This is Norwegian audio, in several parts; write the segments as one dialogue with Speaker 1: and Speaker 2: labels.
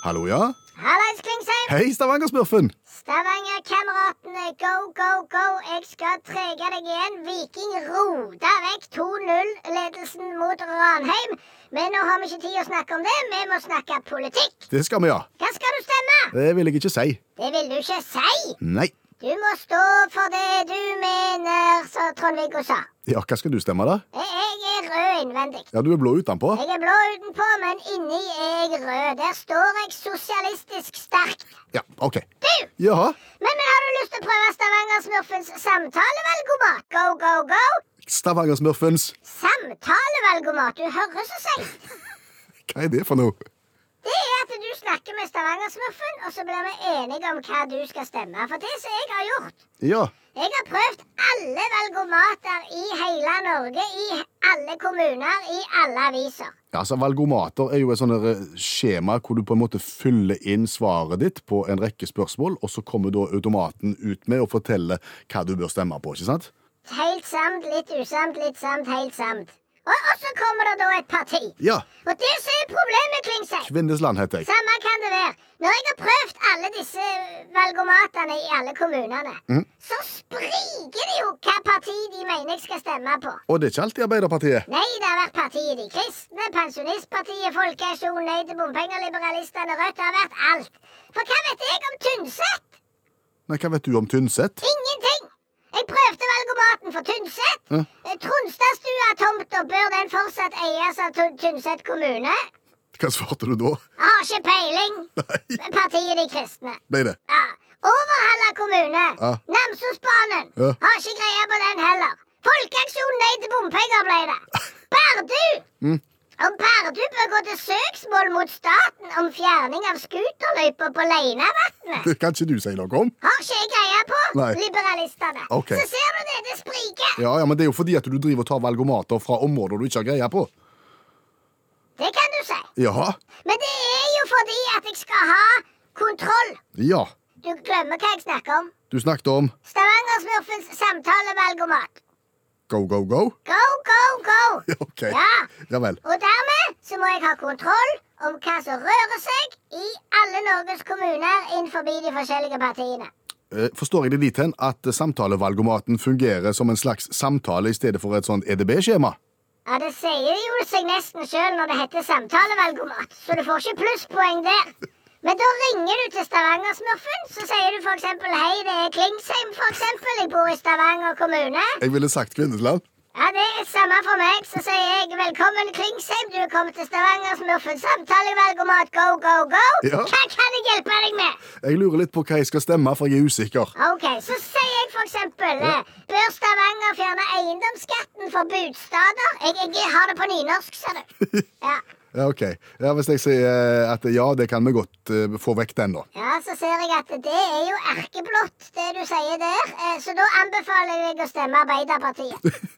Speaker 1: Hallo, ja?
Speaker 2: Hallais, Klingsheim!
Speaker 1: Hei, Stavanger-smurfen!
Speaker 2: Stavanger-kameratene, go, go, go! Jeg skal trege deg igjen. Viking rota vekk 2-0-ledelsen mot Ranheim. Men nå har vi ikke tid å snakke om det. Vi må snakke politikk.
Speaker 1: Det skal vi, ja.
Speaker 2: Hva skal du stemme?
Speaker 1: Det vil jeg ikke si.
Speaker 2: Det vil du ikke si.
Speaker 1: Nei.
Speaker 2: Du må stå for det du mener, som Trond-Viggo sa.
Speaker 1: Ja, hva skal du stemme, da?
Speaker 2: Jeg- Jeg er rød innvendig.
Speaker 1: Ja, du er blå utenpå.
Speaker 2: Jeg er blå utenpå, men inni er jeg rød. Der står jeg sosialistisk sterkt.
Speaker 1: Ja, OK.
Speaker 2: Du!
Speaker 1: Jaha.
Speaker 2: Men, men har du lyst til å prøve Stavanger-smurfens samtalevalgomat? Go, go, go!
Speaker 1: Stavanger-smurfens.
Speaker 2: Samtalevalgomat, du hører så seint.
Speaker 1: Hva er det for noe?
Speaker 2: Det er at du snakker med Stavanger-smurfen, og så blir vi enige om hva du skal stemme. For det som jeg har gjort
Speaker 1: Ja.
Speaker 2: Jeg har prøvd alle valgomater i hele Norge, i alle kommuner, i alle aviser.
Speaker 1: Altså, Valgomater er jo et sånt der, eh, skjema hvor du på en måte fyller inn svaret ditt på en rekke spørsmål, og så kommer da automaten ut med å fortelle hva du bør stemme på. ikke sant?
Speaker 2: Helt samt, litt usamt, litt samt, helt samt. Og, og så kommer det da et parti.
Speaker 1: Ja.
Speaker 2: Og det som er problemet, Klingsheim
Speaker 1: Kvinnesland heter jeg.
Speaker 2: Samme kan det være. Når jeg har prøvd alle disse valgomatene i alle kommunene, så spriker det jo hva parti de mener jeg skal stemme på.
Speaker 1: Og det er ikke alltid Arbeiderpartiet.
Speaker 2: Nei, det har vært partiet De kristne, Pensjonistpartiet, Folkeaksjonen, Nei til bompenger, Liberalistene, Rødt. Det har vært alt. For hva vet jeg om Tynset?
Speaker 1: Nei, Hva vet du om Tynset?
Speaker 2: Ingenting! Jeg prøvde valgomaten for Tynset.
Speaker 1: Ja.
Speaker 2: Eh, Tronstadstua-tomta, bør den fortsatt eies av Tyn- Tynset kommune?
Speaker 1: Hva svarte du da?
Speaker 2: Jeg har ikke peiling.
Speaker 1: Nei,
Speaker 2: Partiet De kristne.
Speaker 1: ble det?
Speaker 2: Ja. Overhalla kommune.
Speaker 1: Ja.
Speaker 2: Namsosbanen.
Speaker 1: Ja.
Speaker 2: Har ikke greie på den heller. Folkeaksjonen Nei til bompenger ble det. Bardu!
Speaker 1: Mm.
Speaker 2: Om Bardu bør gå til søksmål mot staten om fjerning av scooterløypa på Leinavatnet.
Speaker 1: Det kan ikke du si noe om?
Speaker 2: Har ikke jeg greie på.
Speaker 1: Nei.
Speaker 2: Liberalistene.
Speaker 1: Ok.
Speaker 2: Så ser du det, det spriker.
Speaker 1: Ja, ja, men det er jo fordi at du driver og tar valgomater fra områder du ikke har greie på.
Speaker 2: Det kan du si.
Speaker 1: Jaha.
Speaker 2: Men det er jo fordi at jeg skal ha kontroll.
Speaker 1: Ja.
Speaker 2: Du glemmer hva jeg snakker om.
Speaker 1: Du snakket om
Speaker 2: Stavanger-smurfens samtalevalgomat.
Speaker 1: go, go, go.
Speaker 2: Go, go, go!
Speaker 1: Ja, OK.
Speaker 2: Ja.
Speaker 1: Ja vel.
Speaker 2: Og dermed så må jeg ha kontroll om hva som rører seg i alle Norges kommuner innenfor de forskjellige partiene.
Speaker 1: Eh, Forstår jeg det dit hen at samtalevalgomaten fungerer som en slags samtale i stedet for et sånt E EDB-skjema?
Speaker 2: Ja, Det sier jo seg nesten sjøl når det heter samtalevalgomat, så du får ikke plusspoeng der. Men da ringer du til Stavanger-smurfen, så sier du f.eks.: Hei, det er Klingsheim, f.eks. Jeg bor i Stavanger kommune.
Speaker 1: Jeg ville sagt Kvinnesland.
Speaker 2: Ja, det er samme for meg. Så sier jeg velkommen, Klingsheim. Du er kommet til Stavanger-smurfen. Samtalevalgomat, go, go, go.
Speaker 1: Ja.
Speaker 2: Hva kan jeg hjelpe deg med?
Speaker 1: Jeg lurer litt på hva jeg skal stemme, for jeg er usikker.
Speaker 2: Ok, Så sier jeg for eksempel eh, Bør Stavanger fjerne eiendomsskatten for budstader? Jeg, jeg har det på nynorsk, ser du. Ja.
Speaker 1: Ja, ok. Ja, Hvis jeg sier eh, at ja, det kan vi godt eh, få vekk den, da.
Speaker 2: ja, så ser jeg at det er jo erkeblått, det du sier der. eh, Så da anbefaler jeg deg å stemme Arbeiderpartiet.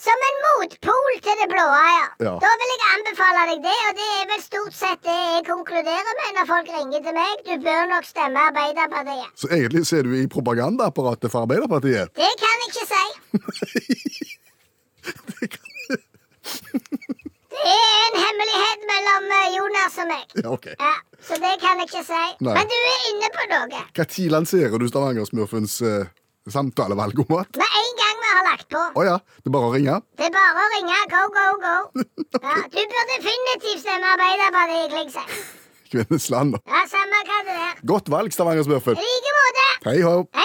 Speaker 2: Som en motpol til det blå, ja.
Speaker 1: Ja.
Speaker 2: Da vil jeg anbefale deg det, og det er vel stort sett det jeg konkluderer med når folk ringer til meg. Du bør nok stemme Arbeiderpartiet.
Speaker 1: Så egentlig så er du i propagandaapparatet for Arbeiderpartiet.
Speaker 2: Det kan jeg ikke si.
Speaker 1: Det kan-
Speaker 2: Det er en hemmelighet mellom eh, Jonas og meg.
Speaker 1: ja, ok.
Speaker 2: Ja, Så det kan jeg ikke si.
Speaker 1: Nei.
Speaker 2: Men du er inne på noe.
Speaker 1: Når lanserer du Stavanger-smurfens eh, samtalevalgomat?
Speaker 2: Med en gang vi har lagt på.
Speaker 1: Å ja, det er bare å ringe?
Speaker 2: Det er bare å ringe. Go, go, go. Ja, du bør definitivt stemme Arbeiderpartiet, Klingsheim.
Speaker 1: Kvinnesland, da.
Speaker 2: Ja, samme hva det er.
Speaker 1: Godt valg, Stavanger-smurfen.
Speaker 2: I like måte.
Speaker 1: Hei ho.